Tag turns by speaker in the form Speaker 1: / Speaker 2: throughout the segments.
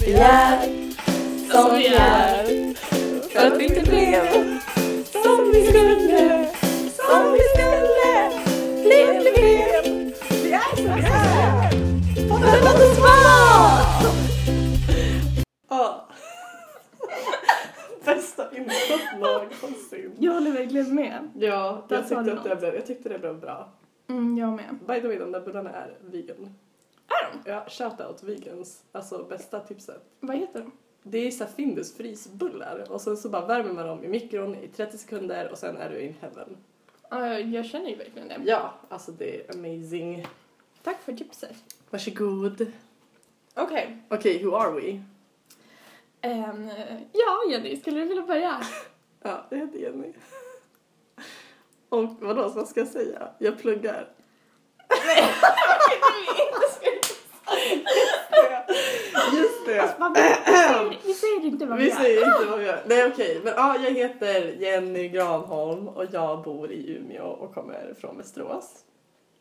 Speaker 1: vi är som vi är. För att vi inte blev som vi skulle, som vi skulle. Blev, blev, blev. Vi är som vi är. För att det var!
Speaker 2: Ja. Bästa introt någonsin.
Speaker 1: Jag håller verkligen med.
Speaker 2: Ja,
Speaker 1: Där
Speaker 2: jag
Speaker 1: sa
Speaker 2: tyckte,
Speaker 1: du
Speaker 2: att det
Speaker 1: något.
Speaker 2: blev, jag tyckte det blev bra.
Speaker 1: Mm, jag med.
Speaker 2: By the way, de där bullarna är vegan. Är de? Ja, shoutout vegans. Alltså bästa tipset.
Speaker 1: Vad heter de?
Speaker 2: Det är så här Findus frysbullar och sen så bara värmer man dem i mikron i 30 sekunder och sen är du in heaven.
Speaker 1: Ja, jag känner ju verkligen det.
Speaker 2: Ja, alltså det är amazing.
Speaker 1: Tack för tipset.
Speaker 2: Varsågod.
Speaker 1: Okej.
Speaker 2: Okej, who are we?
Speaker 1: Ehm, ja, Jenny, skulle du vilja börja?
Speaker 2: Ja, jag heter Jenny. Och vadå, vad ska jag säga? Jag pluggar. Just det.
Speaker 1: Vad- vi säger- Vi säger inte vad vi
Speaker 2: Vi
Speaker 1: gör.
Speaker 2: säger inte vad vi gör. Nej okej, men ja, jag heter Jenny Granholm och jag bor i Umeå och kommer från Västerås.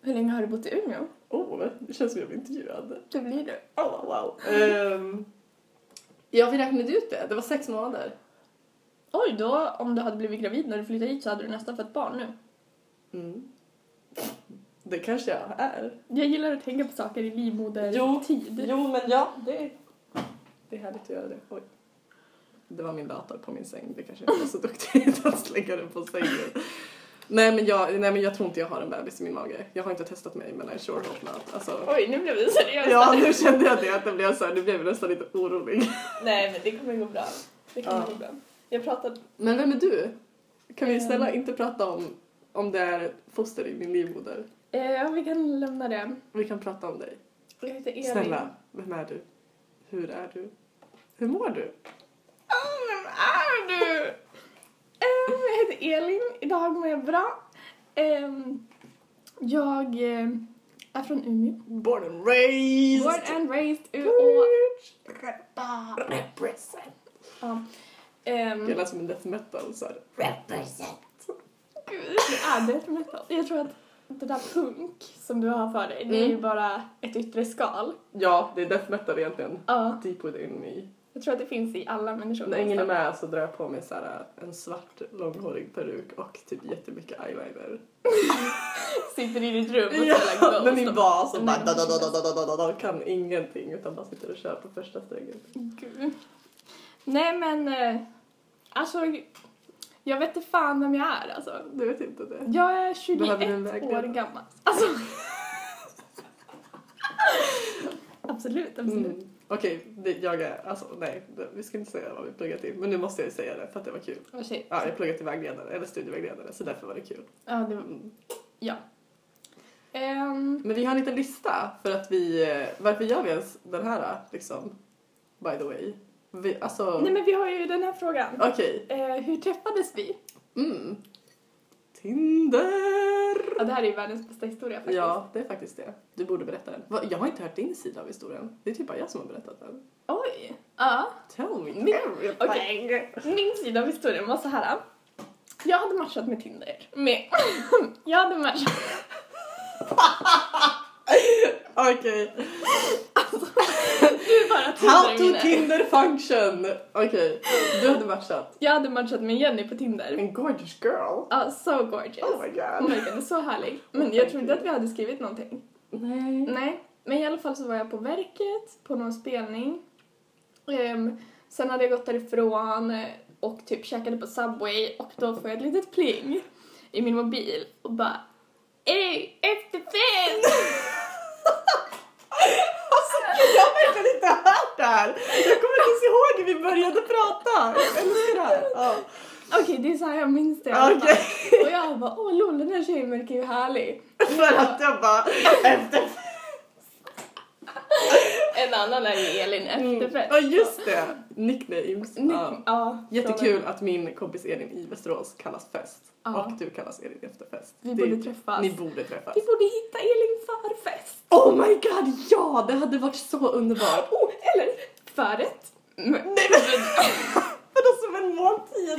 Speaker 1: Hur länge har du bott i Umeå?
Speaker 2: Oh, det känns som jag blir intervjuad.
Speaker 1: Det blir du.
Speaker 2: Oh, wow. Ehm, ja, vi räknade ut det. Det var sex månader.
Speaker 1: Oj, då om du hade blivit gravid när du flyttade hit så hade du nästan fått barn nu.
Speaker 2: Mm. Det kanske jag är.
Speaker 1: Jag gillar att tänka på saker i livmoder
Speaker 2: Jo.
Speaker 1: tid.
Speaker 2: Jo, men ja, det är, det är härligt att göra det. Oj. Det var min dator på min säng. Det kanske inte var så duktigt att slänga den på sängen. Nej men, jag, nej, men jag tror inte jag har en bebis i min mage. Jag har inte testat mig, men I sure hope not. Alltså,
Speaker 1: Oj, nu blev vi seriösa.
Speaker 2: ja, nu kände jag det. Att det blev så här, nu blev jag nästan lite orolig.
Speaker 1: Nej, men det kommer gå bra. Det kommer
Speaker 2: Ja.
Speaker 1: gå bra. Jag pratade...
Speaker 2: Men vem är du? Kan vi
Speaker 1: Ehm.
Speaker 2: snälla inte prata om om det är ett foster i min livmoder?
Speaker 1: Eh, vi kan lämna det.
Speaker 2: Vi kan prata om dig.
Speaker 1: Jag heter Elin.
Speaker 2: Snälla, vem är du? Hur är du? Hur mår du?
Speaker 1: Åh, vem är du? Ehm, jag heter Elin. Idag mår jag bra. Ehm, jag eh, är från Umeå.
Speaker 2: Born and raised!
Speaker 1: Born and raised Umeå.
Speaker 2: Preach!
Speaker 1: Räppa.
Speaker 2: Represent!
Speaker 1: Ja. Ehm,
Speaker 2: Det lät som en death metal så här. Represent!
Speaker 1: gud, det är death metal. Jag tror att det där punk som du har för dig, det är ju
Speaker 2: Mm.
Speaker 1: bara ett yttre skal.
Speaker 2: Ja, det är death metal egentligen.
Speaker 1: Ja,
Speaker 2: Deep within me.
Speaker 1: jag tror att det finns i alla människor.
Speaker 2: När ingen är med så drar jag på mig så här, eh, en svart långhårig peruk och typ jättemycket eyeliner.
Speaker 1: Sitter i ditt rum och spelar
Speaker 2: Ja,
Speaker 1: Ghost.
Speaker 2: med min bas och
Speaker 1: Nej,
Speaker 2: bara
Speaker 1: men
Speaker 2: da,
Speaker 1: det
Speaker 2: da, da,
Speaker 1: känns-
Speaker 2: da, da, da, da, da, kan ingenting utan bara sitter och kör på första strängen.
Speaker 1: Gud. Nej men, eh, alltså jag vet inte fan vem jag är alltså.
Speaker 2: Du vet inte det?
Speaker 1: Jag är
Speaker 2: Behöver du en
Speaker 1: 21 år
Speaker 2: vägledare?
Speaker 1: gammal. Alltså. absolut, absolut.
Speaker 2: Mm. Okej, det- jag är, alltså nej, det- vi ska inte säga vad vi pluggar till men nu måste jag ju säga det för att det var kul.
Speaker 1: Vad säger
Speaker 2: Ja, jag pluggade till vägledare, eller studievägledare, så därför var det kul.
Speaker 1: Ja, det var...
Speaker 2: Mm.
Speaker 1: Ja. Ehm,
Speaker 2: Men vi har en liten lista för att vi, eh, varför gör vi ens den här liksom? By the way. Vi, alltså,
Speaker 1: nej men vi har ju den här frågan.
Speaker 2: okej.
Speaker 1: Eh, hur träffades vi?
Speaker 2: Mm. Tinder!
Speaker 1: Ja, det här är ju världens bästa historia faktiskt.
Speaker 2: Ja, det är faktiskt det. Du borde berätta den. Va, Jag har inte hört din sida av historien. Det är typ bara jag som har berättat den.
Speaker 1: Oj. Ja.
Speaker 2: Tell me
Speaker 1: Min-
Speaker 2: everything!
Speaker 1: Okej. Min sida av historien var så här. Jag hade matchat med Tinder. Med... jag hade matchat
Speaker 2: Okej.
Speaker 1: Du bara
Speaker 2: How to
Speaker 1: Tinder-minne.
Speaker 2: Tinder function! Okej, du hade matchat.
Speaker 1: Jag hade matchat med Jenny på Tinder.
Speaker 2: En gorgeous girl!
Speaker 1: Ja, so gorgeous.
Speaker 2: Mm. Oh my
Speaker 1: Oh
Speaker 2: god.
Speaker 1: my god, så härlig. Men
Speaker 2: oh
Speaker 1: jag trodde att vi hade skrivit någonting.
Speaker 2: Nej.
Speaker 1: Nej, men i alla fall så var jag på verket, på någon spelning. Ehm, sen hade jag gått därifrån eh, och typ käkade på Subway och då får jag ett litet pling i min mobil och bara Ey, efter fem!
Speaker 2: Alltså gud, jag har verkligen inte hört det här! Jag kommer inte ens ihåg när vi började prata! Jag älskar det här! Ja.
Speaker 1: Okej, det är så här jag minns det i alla fall.
Speaker 2: Okej,
Speaker 1: Och jag bara, åh lol, den här tjejen verkar ju härlig.
Speaker 2: för att jag bara... Efter...
Speaker 1: En annan är ju Elin efter fem.
Speaker 2: Ja just det! Nicknames.
Speaker 1: Ny-
Speaker 2: Mm. Ja.
Speaker 1: ja,
Speaker 2: Jättekul att min kompis Elin i Västerås kallas fest.
Speaker 1: Ja.
Speaker 2: Och du kallas Elin efter fest.
Speaker 1: Vi
Speaker 2: Det-
Speaker 1: borde träffas.
Speaker 2: Ni borde träffas.
Speaker 1: Vi borde hitta Elin för fest.
Speaker 2: Oh my god, ja! Det hade varit så underbart!
Speaker 1: Oh, eller förrätt. Men-
Speaker 2: Nej men vadå som en måltid?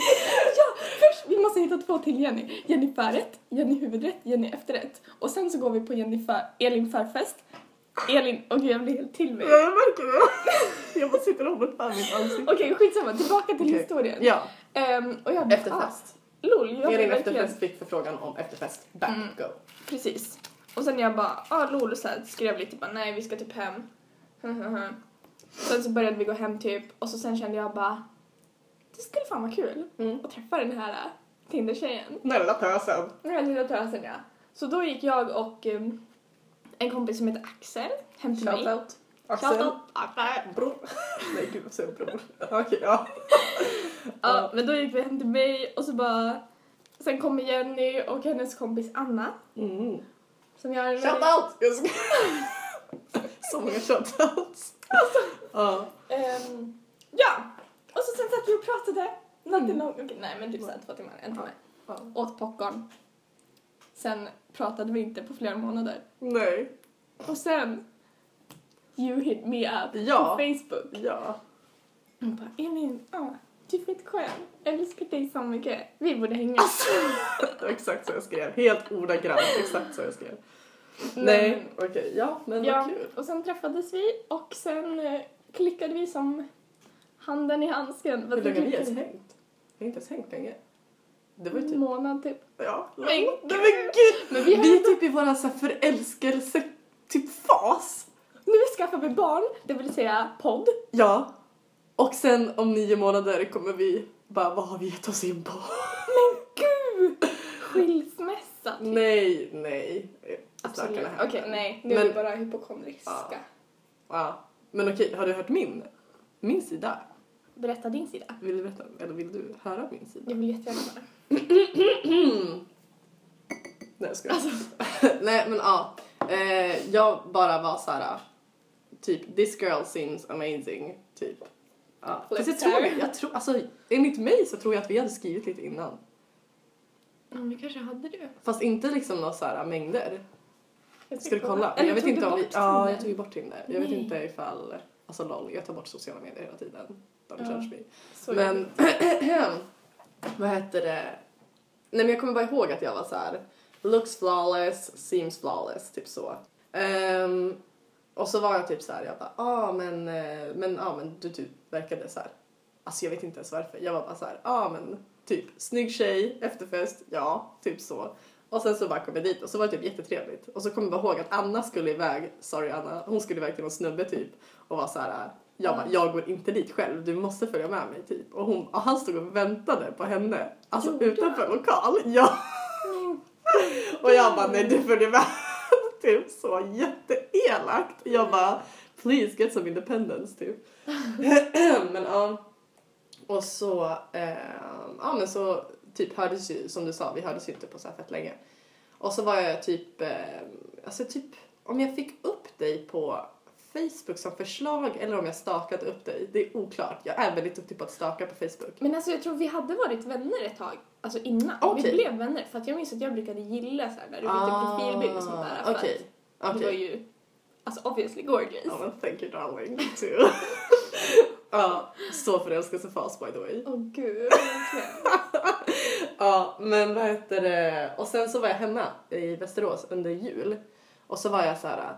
Speaker 1: Ja, först vi måste hitta två till Jenny. Jenny förrätt, Jenny huvudrätt, Jenny efterrätt. Och sen så går vi på Jenny för, Elin förfest. Elin, okej jag blir helt till mig.
Speaker 2: Jag märker det. Jag bara sitter och håller för mitt ansikte.
Speaker 1: Okej skitsamma, tillbaka till
Speaker 2: Okej.
Speaker 1: historien.
Speaker 2: Ja,
Speaker 1: Ehm, och jag
Speaker 2: efterfest.
Speaker 1: Ah, lol, jag blev
Speaker 2: Elin
Speaker 1: verkligen...
Speaker 2: efterfest fick förfrågan om efterfest. Back,
Speaker 1: Mm.
Speaker 2: go.
Speaker 1: Precis. Och sen jag bara, ah lol, och så här, skrev lite bara nej vi ska typ hem. hm, sen så började vi gå hem typ och så sen kände jag bara, det skulle fan vara kul
Speaker 2: Mm.
Speaker 1: att träffa den här äh, Tinder-tjejen.
Speaker 2: Den där lilla pösen.
Speaker 1: Den här lilla tösen ja. Så då gick jag och ehm, en kompis som heter Axel hem till mig.
Speaker 2: Shoutout.
Speaker 1: Shoutout
Speaker 2: Axel.
Speaker 1: Axel.
Speaker 2: Bror. Nej gud jag säger bror. Okej ja.
Speaker 1: Ja, men då gick vi hem till mig och så bara... Sen kom Jenny och hennes kompis Anna.
Speaker 2: Mm.
Speaker 1: Som jag är väldigt-
Speaker 2: Shoutout! Jag ska... Så många shoutouts. Ja.
Speaker 1: Ehm, ja! Och så sen satt vi och pratade. Natten lång. Okej, nej men typ såhär två timmar, en timme.
Speaker 2: Mm. Ja.
Speaker 1: Åt popcorn. Sen pratade vi inte på flera månader.
Speaker 2: Nej.
Speaker 1: Och sen... You hit me up
Speaker 2: Ja.
Speaker 1: på Facebook.
Speaker 2: Ja.
Speaker 1: Hon bara, Elin, ja, du är fett skön. Jag älskar dig så mycket. Vi borde hänga. Alltså.
Speaker 2: Det var exakt så jag skrev. Helt ordagrant exakt så jag skrev.
Speaker 1: Men-
Speaker 2: Nej, okej. Ja, men
Speaker 1: Ja,
Speaker 2: vad kul.
Speaker 1: och sen träffades vi och sen eh, klickade vi som handen i handsken. Vad
Speaker 2: Hur länge har vi
Speaker 1: klickade
Speaker 2: ens hängt? Vi har inte ens hängt länge. Det var ju
Speaker 1: En
Speaker 2: typ...
Speaker 1: månad typ.
Speaker 2: Ja.
Speaker 1: Men
Speaker 2: Nej,
Speaker 1: gud.
Speaker 2: gud!
Speaker 1: Men
Speaker 2: Vi
Speaker 1: vi,
Speaker 2: är
Speaker 1: vi,
Speaker 2: typ i våran så här förälskelse typ fas.
Speaker 1: nu skaffar vi barn, det vill säga podd.
Speaker 2: Ja. Och sen om nio månader kommer vi bara, vad har vi gett oss in på?
Speaker 1: Men gud! Skilsmässa. typ.
Speaker 2: Nej, nej.
Speaker 1: Absolut.
Speaker 2: Stackarna
Speaker 1: Okej,
Speaker 2: här.
Speaker 1: nej. Nu är
Speaker 2: Men-
Speaker 1: vi bara hypokondriska.
Speaker 2: Ja. Ja. Men okej, har du hört min? Min sida?
Speaker 1: Berätta din sida.
Speaker 2: Vill du berätta? Eller vill du höra min sida?
Speaker 1: Jag vill jättegärna höra.
Speaker 2: Nej, jag
Speaker 1: Alltså.
Speaker 2: skojar. nej, men ja. Eh, jag bara var så här, typ this girl seems amazing, typ. Ja.
Speaker 1: Flip
Speaker 2: Fast jag
Speaker 1: her.
Speaker 2: tror, jag tror, alltså enligt mig så tror jag att vi hade skrivit lite innan.
Speaker 1: Ja, men vi kanske hade det.
Speaker 2: Fast inte liksom några så här mängder.
Speaker 1: Jag
Speaker 2: Ska du kolla?
Speaker 1: Eller
Speaker 2: jag vet
Speaker 1: tog
Speaker 2: inte
Speaker 1: du
Speaker 2: om vi,
Speaker 1: bort
Speaker 2: Ja,
Speaker 1: Tinder?
Speaker 2: jag tog ju bort Tinder. Jag vet
Speaker 1: Nej.
Speaker 2: inte ifall, alltså lol, jag tar bort sociala medier hela tiden. Don't
Speaker 1: Ja.
Speaker 2: judge me.
Speaker 1: Så
Speaker 2: men, vad heter det? Nej men jag kommer bara ihåg att jag var så här. looks flawless, seems flawless, typ så. Ehm, och så var jag typ så här, jag bara, ah men, eh, men, ah, men du typ verkade så här. Alltså jag vet inte ens varför. Jag var bara så här, ah men typ snygg tjej, efterfest, ja, typ så. Och sen så bara kom jag dit och så var det typ jättetrevligt. Och så kommer jag bara ihåg att Anna skulle iväg, sorry Anna, hon skulle iväg till någon snubbe typ och var så här. Jag bara, jag går inte dit själv, du måste följa med mig typ. Och, hon, och han stod och väntade på henne, alltså
Speaker 1: Gjorde
Speaker 2: utanför lokal. Ja. Och jag bara, nej du följer med. typ så jätteelakt. Jag bara, please get some independence typ. men ja. Och så, eh, ja men så typ hördes ju, som du sa, vi hördes ju inte på så här fett länge. Och så var jag typ, eh, alltså typ, om jag fick upp dig på Facebook som förslag eller om jag stakat upp dig, det är oklart. Jag är väldigt duktig på att staka på Facebook.
Speaker 1: Men alltså jag tror vi hade varit vänner ett tag, alltså innan. Vi
Speaker 2: Okej.
Speaker 1: blev vänner för att jag minns att jag brukade gilla så här när du bytte profilbild och sånt där. för
Speaker 2: Ah, Okej,
Speaker 1: att
Speaker 2: okej.
Speaker 1: Du var ju alltså obviously gorgeous.
Speaker 2: Ja men thank you darling, you too. Ja, Uh, så förälskelsefas by the way.
Speaker 1: Åh gud, verkligen.
Speaker 2: Ja, men vad heter det? Och sen så var jag hemma i Västerås under jul. Och så var jag så här.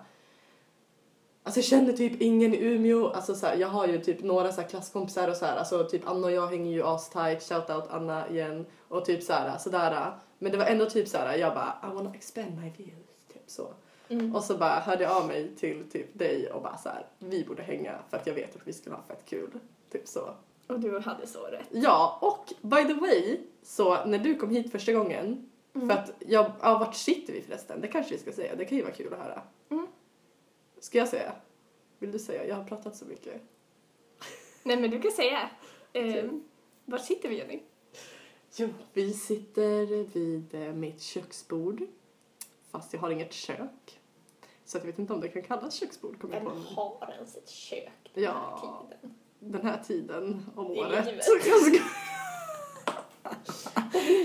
Speaker 2: Alltså jag känner typ ingen i Umeå. Alltså så här, jag har ju typ några så här klasskompisar och så här. Alltså typ Anna och jag hänger ju astight. Shoutout Anna igen. Och typ så här sådär. Men det var ändå typ så här. Jag bara I wanna expand my views. Typ så.
Speaker 1: Mm.
Speaker 2: Och så bara hörde jag av mig till typ dig och bara så här. Vi borde hänga för att jag vet att vi skulle ha fett kul. Typ så.
Speaker 1: Och du hade så rätt.
Speaker 2: Ja, och by the way, så när du kom hit första gången, för att jag, ja vart sitter vi förresten? Det kanske vi ska säga, det kan ju vara kul att höra.
Speaker 1: Mm.
Speaker 2: Ska jag säga? Vill du säga? Jag har pratat så mycket.
Speaker 1: Nej men du kan säga. Eh,
Speaker 2: Okej.
Speaker 1: var sitter vi Jenny?
Speaker 2: Jo, vi sitter vid eh, mitt köksbord, fast jag har inget kök. Så att jag vet inte om det kan kallas köksbord, kommer jag på. nu.
Speaker 1: har ens ett kök
Speaker 2: den här Ja.
Speaker 1: tiden?
Speaker 2: Den här tiden om
Speaker 1: Det är
Speaker 2: året.
Speaker 1: livet.
Speaker 2: Jag ska-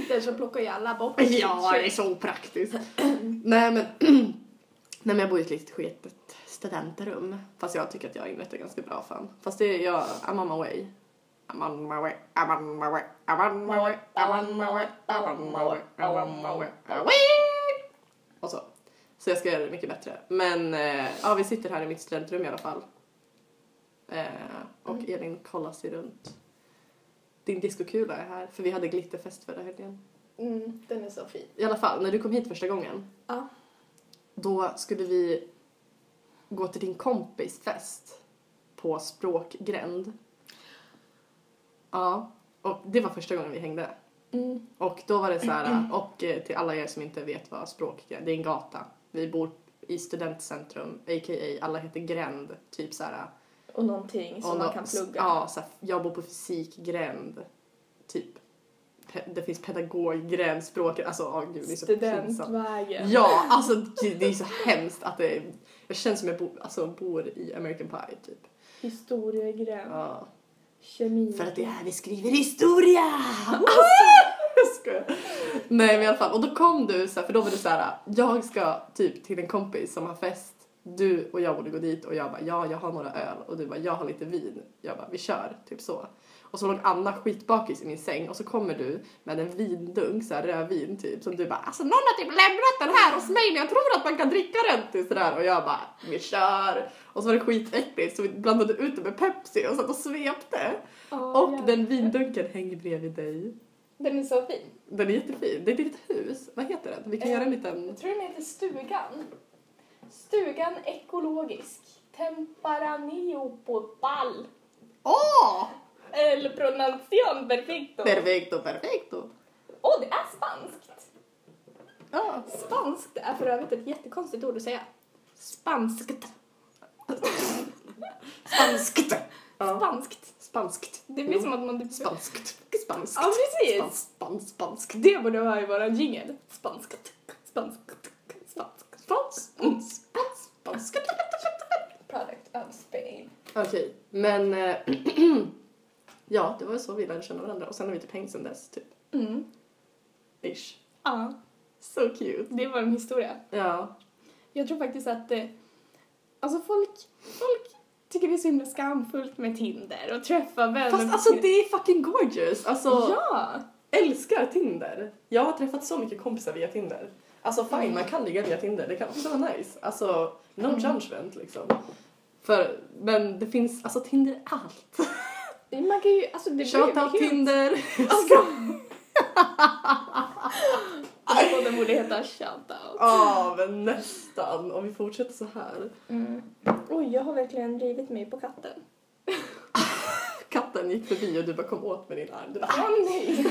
Speaker 1: Där så plockar ju alla bort
Speaker 2: Ja,
Speaker 1: sitt
Speaker 2: det är
Speaker 1: kök.
Speaker 2: så opraktiskt. Nej men, nej men jag bor i ett litet sketet studentrum. Fast jag tycker att jag har inrett det ganska bra fan. Fast det är jag, I'm on my way. I'm on my way, I'm on my way, I'm on my way, I'm on my way, I'm on my way, I'm on my way, away! Och så. Så jag ska göra det mycket bättre. Men eh, ja, vi sitter här i mitt studentrum i alla fall. Eh, och Elin kollar sig runt. Din diskokula är här, för vi hade glitterfest förra helgen.
Speaker 1: Mm, den är så fin.
Speaker 2: I alla fall, när du kom hit första gången.
Speaker 1: Ja.
Speaker 2: Då skulle vi gå till din kompis fest på Språkgränd. Ja, och det var första gången vi hängde.
Speaker 1: Mm.
Speaker 2: Och då var det så här, och eh, till alla er som inte vet vad Språkgränd, det är en gata. Vi bor i studentcentrum, a.k.a. alla heter Gränd, typ så här.
Speaker 1: Och någonting som
Speaker 2: och
Speaker 1: man
Speaker 2: nå-
Speaker 1: kan plugga.
Speaker 2: Ja, så här, jag bor på fysikgränd, typ. Pe- det finns pedagoggränd, språk, alltså åh gud det är så pinsamt.
Speaker 1: Studentvägen.
Speaker 2: Ja, alltså det är så hemskt att det Jag känns som jag bo, alltså, bor i American Pie typ.
Speaker 1: Historiegränd.
Speaker 2: Ja.
Speaker 1: Kemi.
Speaker 2: För att det är här vi skriver historia! Ah! Jag skojar. Nej men i alla fall, och då kom du så här, för då var det så här, jag ska typ till en kompis som har fest, du och jag borde gå dit och jag bara ja, jag har några öl och du bara jag har lite vin. Jag bara vi kör, typ så. Och så låg Anna skitbakis i min säng och så kommer du med en vindunk, så här rödvin typ, som du bara alltså någon har typ lämnat den här hos mig men jag tror att man kan dricka den till sådär och jag bara vi kör. Och så var det skitäckligt så vi blandade ut det med Pepsi och satt och svepte.
Speaker 1: Ja,
Speaker 2: Och
Speaker 1: jävlar.
Speaker 2: den vindunken hänger bredvid dig.
Speaker 1: den är så fin.
Speaker 2: Den är jättefin. Det är ett litet hus. Vad heter den? Vi kan
Speaker 1: Eh,
Speaker 2: göra en liten...
Speaker 1: Jag tror den heter Stugan. Stugan ekologisk. Temperaneo på ball.
Speaker 2: Åh!
Speaker 1: El pronunciación perfecto.
Speaker 2: Perfecto, perfecto.
Speaker 1: Åh, det är spanskt!
Speaker 2: Ja.
Speaker 1: Spanskt är för övrigt ett jättekonstigt ord att säga. Spanskt.
Speaker 2: Spanskt. Ja.
Speaker 1: Spanskt.
Speaker 2: Spanskt.
Speaker 1: Det blir som att man... typ-
Speaker 2: Spanskt. Spanskt.
Speaker 1: Ja, precis.
Speaker 2: Spans- Spans, spanskt.
Speaker 1: Det borde vara i våran jingel. Spanskt. Spanskt. Spanskt.
Speaker 2: Spans, spans, spans, spanskt.
Speaker 1: Product of Spain.
Speaker 2: Okej, men... eh, ja, det var ju så vi lärde känna varandra. Och sen har vi typ hängt sen dess, typ.
Speaker 1: Mm.
Speaker 2: Ish.
Speaker 1: Ja,
Speaker 2: So cute.
Speaker 1: det var en historia.
Speaker 2: Ja.
Speaker 1: Jag tror faktiskt att... Eh, alltså folk, folk tycker det är så himla skamfullt med Tinder och träffa vänner.
Speaker 2: Fast alltså det är fucking gorgeous. Alltså...
Speaker 1: Ja!
Speaker 2: älskar Tinder. Jag har träffat så mycket kompisar via Tinder. Alltså
Speaker 1: Mm.
Speaker 2: fine, man kan ligga via Tinder. Det kan också vara nice. Alltså, no judgment liksom. För, men det finns, alltså Tinder är allt.
Speaker 1: Man kan ju... Alltså det blir ju
Speaker 2: Shoutout
Speaker 1: helt-
Speaker 2: Tinder.
Speaker 1: Alltså. Alltså, Podden borde heta Shoutout.
Speaker 2: Ja, men nästan. Om vi fortsätter så här.
Speaker 1: Mm. Oj, jag har verkligen rivit mig på katten.
Speaker 2: Katten gick förbi och du bara kom åt med din arm. Du bara, "Ah."
Speaker 1: Åh Ah, nej!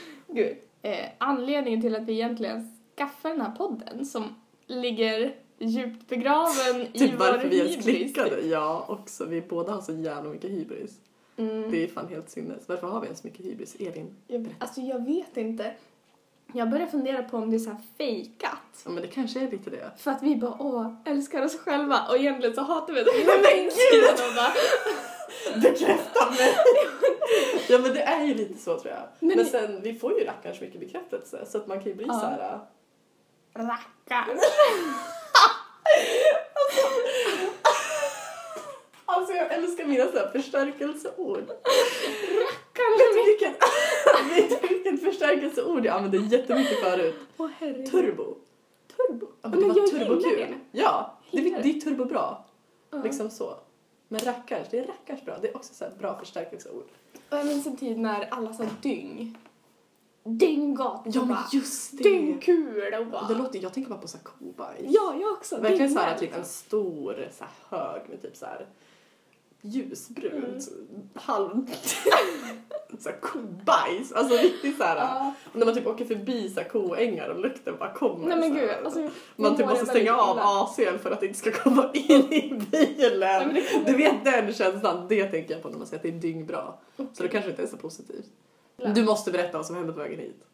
Speaker 1: Gud. Eh, anledningen till att vi egentligen skaffade den här podden som ligger djupt begraven i
Speaker 2: typ
Speaker 1: vår
Speaker 2: varför vi ens
Speaker 1: hybris.
Speaker 2: klickade. Ja, också. Vi båda har så jävla mycket hybris.
Speaker 1: Mm.
Speaker 2: Det är fan helt sinnes. Varför har vi ens mycket hybris? Elin?
Speaker 1: Jag, alltså jag vet inte. Jag börjar fundera på om det är så här fejkat.
Speaker 2: Ja, men det kanske är lite det.
Speaker 1: För att vi bara åh, älskar oss själva och egentligen så hatar vi det.
Speaker 2: men gud!
Speaker 1: Och bara,
Speaker 2: Bekräfta mig! ja men det är ju lite så tror jag. Men,
Speaker 1: Men-
Speaker 2: sen, vi får ju rackarns mycket bekräftelse så att man kan ju bli
Speaker 1: Ja.
Speaker 2: så här. äh,
Speaker 1: Rackars.
Speaker 2: Alltså jag älskar mina så här förstärkelseord.
Speaker 1: Rackars.
Speaker 2: Vet du vilket, vet du vilket förstärkelseord jag använde jättemycket förut?
Speaker 1: Åh herregud.
Speaker 2: Turbo.
Speaker 1: Turbo.
Speaker 2: Ja, men det var turbokul. Ja, det,
Speaker 1: Gillar
Speaker 2: är-
Speaker 1: det.
Speaker 2: det är turbobra.
Speaker 1: Ja.
Speaker 2: Liksom så. Men rackarns, det är rackarns bra. Det är också så här bra förstärkelseord.
Speaker 1: Och jag minns en tid när alla sa dyng. Dynggatan.
Speaker 2: Ja men just det.
Speaker 1: Dyngkula och bara.
Speaker 2: det låter, jag tänker bara på så här kobajs.
Speaker 1: Ja, jag också.
Speaker 2: Verkligen så här,
Speaker 1: Dyngar,
Speaker 2: typ en
Speaker 1: liksom.
Speaker 2: stor så här, hög med typ så här ljusbrunt,
Speaker 1: Mm.
Speaker 2: så, halv... så här, kobajs, alltså riktigt så här.
Speaker 1: Ja.
Speaker 2: När man typ åker förbi så här, koängar och lukten bara kommer.
Speaker 1: Nej men
Speaker 2: så
Speaker 1: gud.
Speaker 2: här.
Speaker 1: Alltså,
Speaker 2: man typ
Speaker 1: mår
Speaker 2: måste
Speaker 1: väldigt
Speaker 2: stänga av
Speaker 1: illa.
Speaker 2: AC'n för att det inte ska komma in i
Speaker 1: Nej, men
Speaker 2: bilen.
Speaker 1: det kommer-
Speaker 2: Du vet den känslan, det tänker jag på när man säger att det är dyngbra. Så det kanske inte är så positivt. Du måste berätta vad som hände på vägen hit.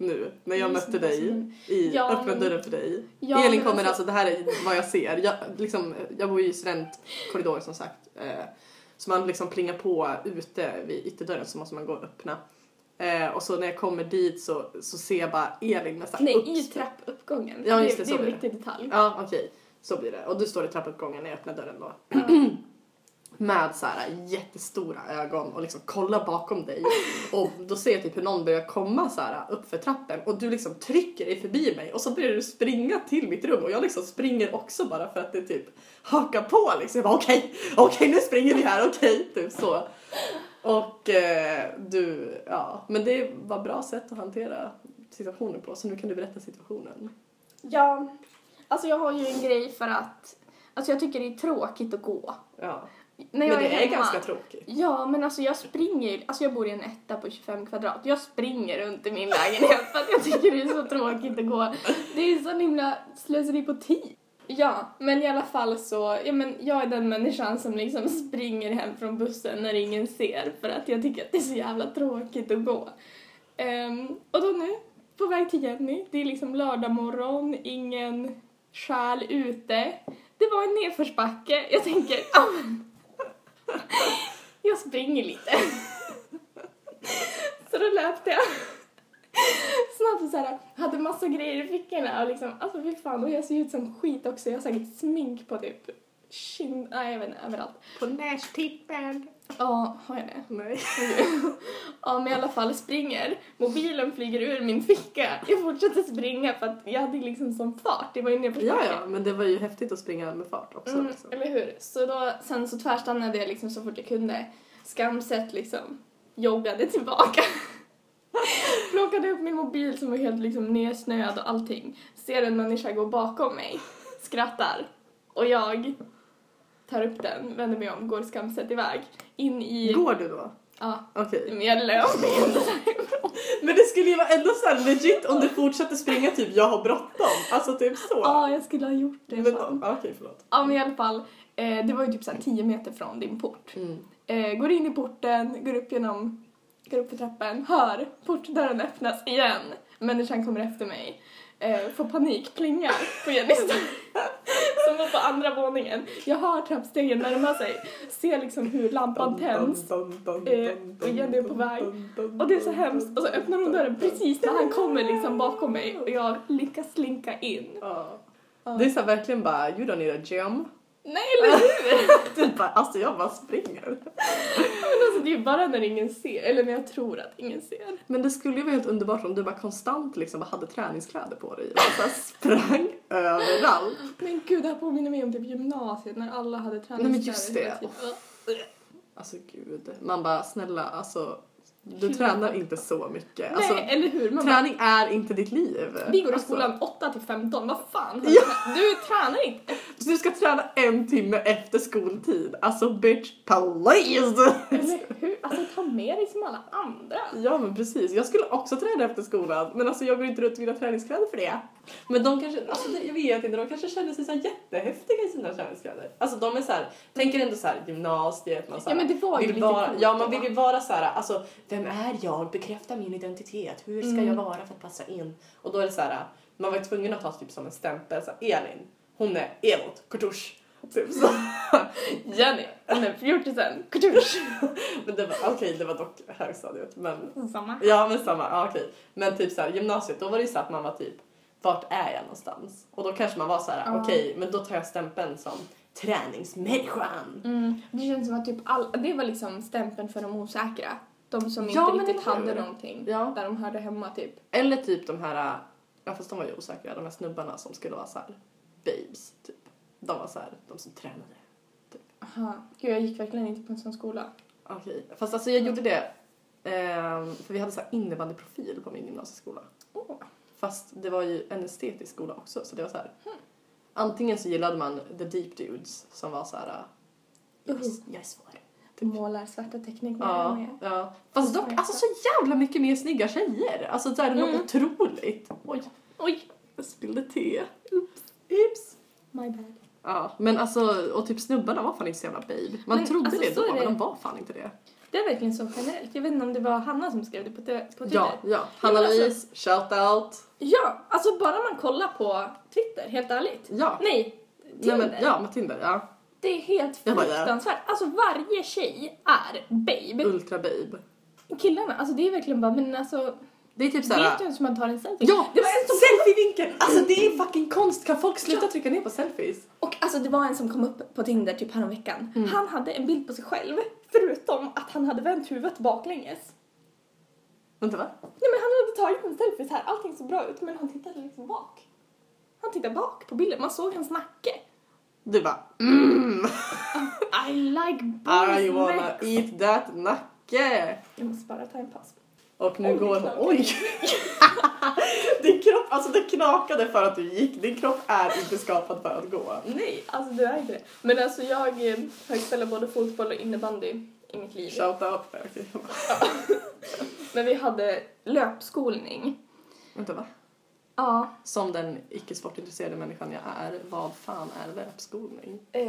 Speaker 2: Nu, när jag
Speaker 1: Just
Speaker 2: mötte
Speaker 1: det,
Speaker 2: dig
Speaker 1: som-
Speaker 2: i
Speaker 1: Ja,
Speaker 2: öppna
Speaker 1: men-
Speaker 2: dörren för dig.
Speaker 1: Ja,
Speaker 2: Elin
Speaker 1: men
Speaker 2: kommer alltså,
Speaker 1: alltså-
Speaker 2: det här är vad jag ser. Jag, liksom, jag bor ju i studentkorridor som sagt. Eh, så man liksom plingar på ute vid ytterdörren så måste man gå och öppna. Eh, och så när jag kommer dit så, så ser jag bara Elin med såhär
Speaker 1: Nej, i trappuppgången.
Speaker 2: Ja, just det,
Speaker 1: det,
Speaker 2: så
Speaker 1: är en
Speaker 2: blir det.
Speaker 1: viktig detalj.
Speaker 2: Ja, okej. Så blir det. Och du står i trappuppgången när jag öppnar dörren då. med så här jättestora ögon och liksom kollar bakom dig och då ser jag typ hur någon börjar komma så här upp för trappen och du liksom trycker dig förbi mig och så börjar du springa till mitt rum och jag liksom springer också bara för att det typ hakar på liksom. Jag bara okej, okej nu springer vi här, okej, typ så. Och eh, du, ja, men det var bra sätt att hantera situationen på så nu kan du berätta situationen.
Speaker 1: Ja, alltså jag har ju en grej för att alltså jag tycker det är tråkigt att gå.
Speaker 2: Ja.
Speaker 1: När jag
Speaker 2: men det är,
Speaker 1: hemma-
Speaker 2: ganska tråkigt.
Speaker 1: Ja, men alltså jag springer ju- alltså jag bor i en etta på 25 kvadrat. Jag springer runt i min lägenhet för att jag tycker det är så tråkigt att gå. Det är så himla slöseri på tid. Ja, men i alla fall så, ja men jag är den människan som liksom springer hem från bussen när ingen ser för att jag tycker att det är så jävla tråkigt att gå. Ehm, och då nu, på väg till Jenny, det är liksom lördag morgon, ingen själ ute. Det var en nedförsbacke, jag tänker, ah, men jag springer lite. Så då löpte jag. Snabbt och så här, hade massa grejer i fickorna och liksom, alltså fy fan, och jag ser ut som skit också. Jag har säkert smink på typ kind, nej jag vet inte, överallt.
Speaker 2: På nästippen.
Speaker 1: Ja, har jag det?
Speaker 2: Nej.
Speaker 1: Ja, men i alla fall springer. Mobilen flyger ur min ficka. Jag fortsätter springa för att jag hade liksom som fart. Det var ju nerför
Speaker 2: Ja, ja, men det var ju häftigt att springa med fart också.
Speaker 1: Mm,
Speaker 2: liksom.
Speaker 1: eller hur? Så då, sen så tvärstannade jag liksom så fort jag kunde. Skamset liksom joggade tillbaka. Plockade upp min mobil som var helt liksom nedsnöad och allting. Ser en människa gå bakom mig, skrattar. Och jag tar upp den, vänder mig om, går skamset iväg. In i...
Speaker 2: Går du då?
Speaker 1: Ja,
Speaker 2: Okej.
Speaker 1: men jag löp inte därifrån.
Speaker 2: Men det skulle ju vara ändå så här legit om du fortsatte springa typ jag har bråttom. Alltså typ så.
Speaker 1: Ja, jag skulle ha gjort det.
Speaker 2: Men,
Speaker 1: fan.
Speaker 2: ja, okej, förlåt.
Speaker 1: Ja, men i alla fall. Eh, det var ju typ såhär 10 meter från din port. Eh, går in i porten, går upp genom, går upp för trappen, hör portdörren öppnas igen. Människan kommer efter mig. Eh, får panik, plingar på Jennys dörr. Som var på andra våningen. Jag hör trappstegen närma sig. Ser liksom hur lampan tänds. eh, och Jenny är på väg. Och det är så hemskt. Och så öppnar hon dörren precis när han kommer liksom bakom mig. Och jag lyckas slinka in.
Speaker 2: Ja. Det är så här verkligen bara, you don't need a gym.
Speaker 1: Nej, eller hur?
Speaker 2: Typ bara, alltså jag bara springer.
Speaker 1: Men alltså det är ju bara när ingen ser, eller när jag tror att ingen ser.
Speaker 2: Men det skulle ju vara helt underbart om du bara konstant liksom bara hade träningskläder på dig. Och så här sprang överallt.
Speaker 1: Men gud, det här påminner mig om typ gymnasiet när alla hade träningskläder.
Speaker 2: Nej, men just
Speaker 1: hela
Speaker 2: det.
Speaker 1: tiden.
Speaker 2: Alltså gud. Man bara, snälla alltså. Du
Speaker 1: Gud.
Speaker 2: tränar inte så mycket.
Speaker 1: Nej,
Speaker 2: Alltså,
Speaker 1: eller hur? Man bara,
Speaker 2: träning är inte ditt liv.
Speaker 1: vi går i
Speaker 2: Alltså,
Speaker 1: skolan 8 till 15, vad fan?
Speaker 2: Ja.
Speaker 1: Du tränar inte.
Speaker 2: Så du ska träna en timme efter skoltid. Alltså bitch, please!
Speaker 1: Eller hur? Alltså ta med dig som alla andra.
Speaker 2: Ja men precis, jag skulle också träna efter skolan men alltså jag går inte runt i mina träningskläder för det. Men de kanske, alltså det- jag vet inte, de kanske känner sig så här jättehäftiga i sina träningskläder. Alltså de är så här, tänker ändå så här gymnasiet, man så här,
Speaker 1: Ja men det var ju
Speaker 2: vill
Speaker 1: lite
Speaker 2: vara,
Speaker 1: coolt
Speaker 2: ja
Speaker 1: då.
Speaker 2: man vill ju vara så här, alltså vem är jag, bekräfta min identitet, hur ska
Speaker 1: Mm.
Speaker 2: jag vara för att passa in? Och då är det så här, man var ju tvungen att ha typ som en stämpel, så här, Elin, hon är elot, kortusch. Typ så.
Speaker 1: Jenny, den där fjortisen, kutusch.
Speaker 2: Men det var, okej det var dock högstadiet men
Speaker 1: Samma.
Speaker 2: Ja men samma, ja, okej. Men typ såhär gymnasiet, då var det ju så att man var typ vart är jag någonstans? Och då kanske man var såhär
Speaker 1: Ja.
Speaker 2: okej men då tar jag stämpeln som träningsmänniskan.
Speaker 1: Mm, det känns som att typ all, det var liksom stämpeln för de osäkra. De som
Speaker 2: Ja,
Speaker 1: inte
Speaker 2: men
Speaker 1: riktigt
Speaker 2: eller hur?
Speaker 1: hade någonting.
Speaker 2: Ja.
Speaker 1: Där de hörde hemma typ.
Speaker 2: Eller typ de här, ja fast de var ju osäkra, de här snubbarna som skulle vara såhär babes typ. De var såhär, de som tränade.
Speaker 1: Aha. Gud, jag gick verkligen inte på en sån skola.
Speaker 2: Okej, fast alltså jag gjorde det ehm, för vi hade såhär innebandyprofil på min gymnasieskola.
Speaker 1: Åh.
Speaker 2: Fast det var ju en estetisk skola också så det var så här. Antingen så gillade man the deep dudes som var så här. Jag, är- jag är svår.
Speaker 1: Du målar svarta teckningar
Speaker 2: Typ. Ja,
Speaker 1: med.
Speaker 2: ja. Fast dock alltså så jävla mycket mer snygga tjejer. Alltså det är något
Speaker 1: Mm.
Speaker 2: otroligt. Oj,
Speaker 1: Oj,
Speaker 2: jag spillde te. Oops. Oops.
Speaker 1: my bad.
Speaker 2: Ja, men alltså och typ snubbarna var fan inte så jävla babe. Man
Speaker 1: Men,
Speaker 2: trodde
Speaker 1: alltså,
Speaker 2: det
Speaker 1: så
Speaker 2: då
Speaker 1: är det.
Speaker 2: men de var fan inte det.
Speaker 1: Det är verkligen så generellt. Jag vet inte om det var Hanna som skrev det på, t- på Twitter.
Speaker 2: Ja, ja. Hanna-Louise, shout out.
Speaker 1: ja, alltså bara man kollar på Twitter, helt ärligt.
Speaker 2: Ja.
Speaker 1: Nej,
Speaker 2: Nej,
Speaker 1: Tinder.
Speaker 2: men, ja, med Tinder. Ja.
Speaker 1: Det är helt
Speaker 2: Jag bara, ja. Mm.
Speaker 1: fruktansvärt. Alltså varje tjej är babe.
Speaker 2: Ultra babe.
Speaker 1: Killarna, alltså det är verkligen bara, men alltså
Speaker 2: Det är typ såhär...
Speaker 3: Vet du ens hur man tar en selfie?
Speaker 2: Ja!
Speaker 1: Det var en som-
Speaker 2: Mm.
Speaker 1: Mm.
Speaker 2: Selfievinkel! Alltså det är fucking konst. Kan folk sluta trycka ner på selfies?
Speaker 1: Och alltså det var en som kom upp på Tinder typ häromveckan.
Speaker 2: Mm.
Speaker 1: Han hade en bild på sig själv, förutom att han hade vänt huvudet baklänges.
Speaker 2: Vänta va?
Speaker 1: Nej men han hade tagit en selfie så här, allting såg bra ut, men han tittade liksom bak. Han tittade bak på bilden, man såg hans nacke.
Speaker 2: Du bara mm.
Speaker 3: I like
Speaker 2: I
Speaker 3: boys
Speaker 2: wanna
Speaker 3: neck.
Speaker 2: eat that nacke!
Speaker 1: Jag måste bara ta en paus.
Speaker 2: Och nu
Speaker 1: Oj,
Speaker 2: går hon...
Speaker 1: det knakar.
Speaker 2: Oj! Din kropp, alltså det knakade för att du gick. Din kropp är inte skapad för att gå.
Speaker 1: Nej, alltså du är inte det. Men alltså jag eh, har ju spelat både fotboll och innebandy i mitt liv.
Speaker 2: Shout out. Okej.
Speaker 1: Men vi hade löpskolning.
Speaker 2: Vänta va?
Speaker 1: Ja.
Speaker 2: Som den icke sportintresserade människan jag är, vad fan är löpskolning?
Speaker 1: det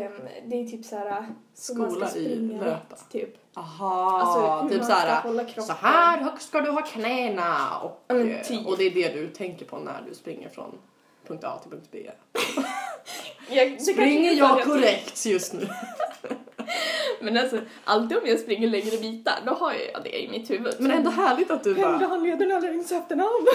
Speaker 1: är typ såhär... så man ska
Speaker 2: Skola i
Speaker 1: springa
Speaker 2: löpa.
Speaker 1: rätt, Typ.
Speaker 2: Aha,
Speaker 1: Alltså, hur
Speaker 2: typ
Speaker 1: man
Speaker 2: så här,
Speaker 1: ska hålla kroppen.
Speaker 2: så här högt ska du ha knäna och,
Speaker 1: Ja, men
Speaker 2: eh,
Speaker 1: typ.
Speaker 2: och det är det du tänker på när du springer från punkt A till punkt B.
Speaker 1: Jag, det kanske
Speaker 2: Springer
Speaker 1: inte
Speaker 2: jag
Speaker 1: hade-
Speaker 2: korrekt just nu?
Speaker 1: Men alltså, alltid om jag springer längre bitar, då har jag ja, det i mitt huvud.
Speaker 2: Men ändå härligt att du
Speaker 1: Hängde
Speaker 2: bara,
Speaker 1: handlederna längs höfterna av.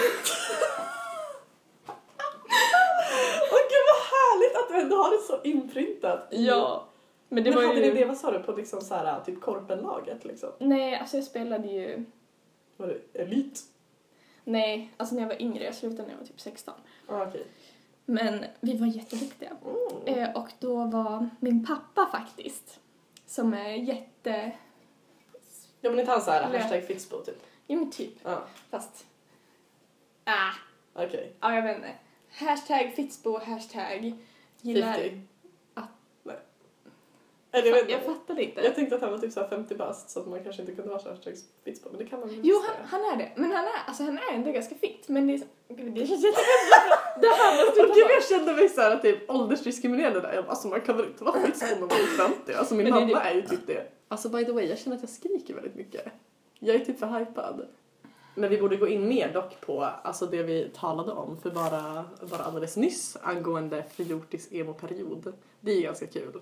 Speaker 2: åh gud vad härligt att du ändå har det så inprintat. i-
Speaker 1: ja. Men det
Speaker 2: Men
Speaker 1: var
Speaker 2: hade
Speaker 1: ju...
Speaker 2: ni det, vad sa du, på liksom så här, typ korpenlaget liksom?
Speaker 1: Nej, alltså jag spelade ju...
Speaker 2: Var det elit?
Speaker 1: Nej, alltså när jag var yngre, jag slutade när jag var typ 16.
Speaker 2: Ah, okej.
Speaker 1: Men vi var jätteduktiga.
Speaker 2: Mm.
Speaker 1: Eh, och då var min pappa faktiskt, som är jätte...
Speaker 2: Ja men inte han såhär,
Speaker 1: Lö-
Speaker 2: hashtag fixbo typ?
Speaker 1: Ja men typ,
Speaker 2: Ja,
Speaker 1: fast... Ah,
Speaker 2: okej.
Speaker 1: ja jag vet inte. Hashtag Fitzbo, hashtag gillar...
Speaker 2: 50.
Speaker 1: att-
Speaker 2: Nej. Eller jag vet
Speaker 1: Jag
Speaker 2: inte.
Speaker 1: fattade inte.
Speaker 2: Jag tänkte att han var typ så här 50 bast så att man kanske inte kunde ha hashtag Fitzbo men det kan man väl
Speaker 1: Jo,
Speaker 2: visst
Speaker 1: han,
Speaker 2: göra.
Speaker 1: han är det. Men han är, alltså, han är ändå ganska fit. Men det är så... Gud, det känns jättebra. det här måste vi
Speaker 2: Och gud
Speaker 1: ta
Speaker 2: jag kände mig såhär typ åldersdiskriminerande där. Jag bara, Alltså man kan väl inte vara Fitzbo när man är 50? Alltså min
Speaker 1: Men det är
Speaker 2: mamma
Speaker 1: det-
Speaker 2: är ju typ det. Alltså by the way, jag känner att jag skriker väldigt mycket. Jag är typ för hypad. Men vi borde gå in mer dock på alltså det vi talade om för bara, bara alldeles nyss angående fjortis emo-period. Det är ju ganska kul.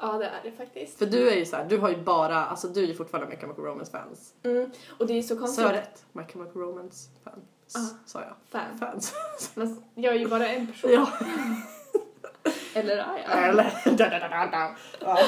Speaker 1: Ja, det är det faktiskt.
Speaker 2: För du är ju såhär, du har ju bara, alltså du är ju fortfarande My Chemical Romance-fans.
Speaker 1: Mm. Och det är så
Speaker 2: Sa
Speaker 1: konstigt.
Speaker 2: jag rätt? My Chemical Romance-fan. S-
Speaker 1: Ah.
Speaker 2: Sa jag.
Speaker 1: Fan.
Speaker 2: Fans.
Speaker 1: Men jag är ju bara en person.
Speaker 2: ja.
Speaker 1: Eller är jag?
Speaker 2: Eller... da, da, da, da, da. Ja.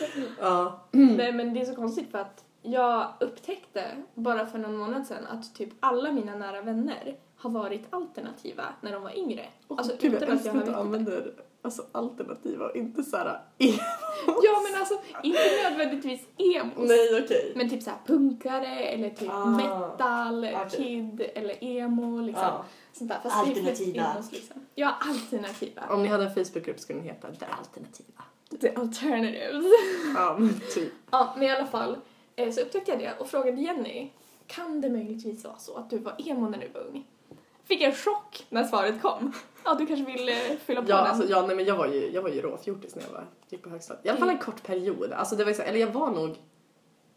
Speaker 2: ja.
Speaker 1: Nej, men det är så konstigt för att jag upptäckte bara för någon månad sedan att typ alla mina nära vänner har varit alternativa när de var yngre.
Speaker 2: Och
Speaker 1: Alltså,
Speaker 2: gud, jag
Speaker 1: utan att
Speaker 2: älskar
Speaker 1: jag har
Speaker 2: att du
Speaker 1: vetat det.
Speaker 2: använder alltså, alternativa och inte såhär emos.
Speaker 1: Ja, men alltså inte nödvändigtvis emos.
Speaker 2: Nej, okej.
Speaker 1: Men typ såhär punkare eller typ
Speaker 2: Ah.
Speaker 1: metal,
Speaker 2: Okej.
Speaker 1: kid eller emo liksom.
Speaker 2: Ja.
Speaker 1: Sånt där. Fast det är flest
Speaker 2: Alternativa.
Speaker 1: emos, liksom. Ja, alternativa.
Speaker 2: Om ni hade en Facebookgrupp skulle den heta Det Alternativa.
Speaker 1: The alternatives.
Speaker 2: Ja, men typ.
Speaker 1: Ja, men i alla fall eh, så upptäckte jag det och frågade Jenny, kan det möjligtvis vara så att du var emo när du var ung? Fick en chock när svaret kom. Ja, du kanske vill eh, fylla på
Speaker 2: Ja,
Speaker 1: den?
Speaker 2: alltså, ja, nej, men jag var ju, jag var ju råfjortis när jag var, gick på högstadiet. I alla fall en kort period. Alltså, det var ju så, eller jag var nog,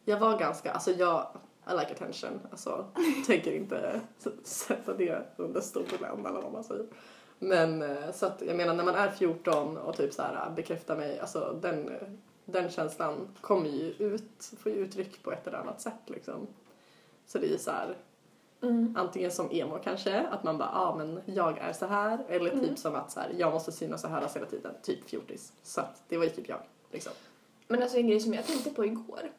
Speaker 2: jag var ganska, alltså jag, I like attention. Alltså, tänker inte s- sätta det under stolen eller vad man säger. Men eh, så att jag menar när man är 14 och typ så här bekräftar mig, alltså den, eh, den känslan kommer ju ut, får ju uttryck på ett eller annat sätt liksom. Så det är ju så här,
Speaker 1: Mm.
Speaker 2: Antingen som emo kanske, att man bara ah, men jag är så här. Eller
Speaker 1: Mm.
Speaker 2: typ som att så här, jag måste synas och höras hela tiden. Typ fjortis. Så att det var ju typ jag. Liksom.
Speaker 1: Men alltså en grej som jag tänkte på igår.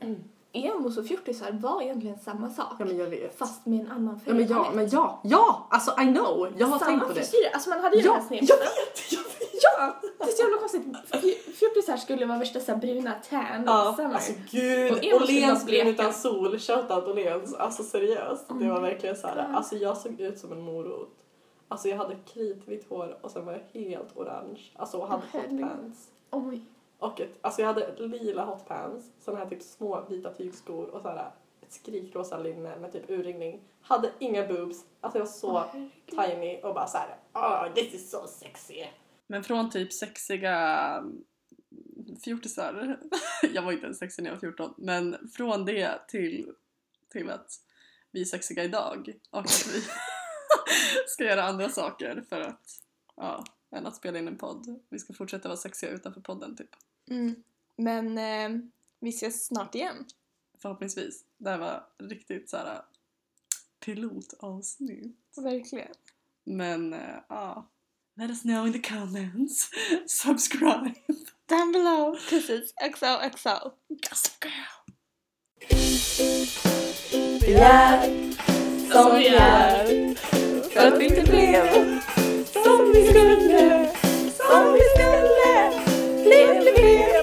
Speaker 1: Emos och fjortisar var egentligen samma sak.
Speaker 2: Ja men jag vet.
Speaker 1: Fast med en annan
Speaker 2: ja, men ja, men ja, ja! Alltså I know! Jag har
Speaker 1: Samma
Speaker 2: tänkt på det.
Speaker 1: frisyr, alltså man hade ju den
Speaker 2: Ja,
Speaker 1: här
Speaker 2: jag
Speaker 1: snedbilden.
Speaker 2: vet! Jag vet.
Speaker 1: Ja! Det är så jävla konstigt. Fj- Fjortisar skulle vara värsta så här bruna tan
Speaker 2: Ja,
Speaker 1: summer.
Speaker 2: alltså gud!
Speaker 1: Och emo skulle
Speaker 2: Åhléns
Speaker 1: vara
Speaker 2: brun
Speaker 1: bleka. Mm.
Speaker 2: utan sol, shoutout Åhléns. Alltså seriöst, det var verkligen så här.
Speaker 1: God.
Speaker 2: Alltså jag såg ut som en morot. Alltså jag hade kritvitt hår och sen var jag helt orange. Alltså och hade
Speaker 1: Åh,
Speaker 2: hot
Speaker 1: herregud.
Speaker 2: pants.
Speaker 1: Oj.
Speaker 2: Och ett, alltså jag hade lila hotpants, såna här typ små vita tygskor och så här ett skrikrosa linne med typ urringning. Hade inga boobs, alltså jag var så
Speaker 1: Åh, herregud.
Speaker 2: tiny och bara så här, oh this is so sexy. Men från typ sexiga mm, fjortisar, jag var inte ens sexig när jag var 14, men från det till, till att vi är sexiga idag och att vi ska göra andra saker för att, ja, än att spela in en podd. Vi ska fortsätta vara sexiga utanför podden typ.
Speaker 1: Mm. Men eh, vi ses snart igen.
Speaker 2: Förhoppningsvis. Det här var riktigt så här äh, pilotavsnitt.
Speaker 1: Verkligen.
Speaker 2: Men eh, ja. Let us know in the comments. Subscribe.
Speaker 1: Down below, kisses XOXO.
Speaker 2: Gossip girl.
Speaker 1: Vi är som vi är för att vi inte blev som vi skulle, som vi skulle bli, bli, bli.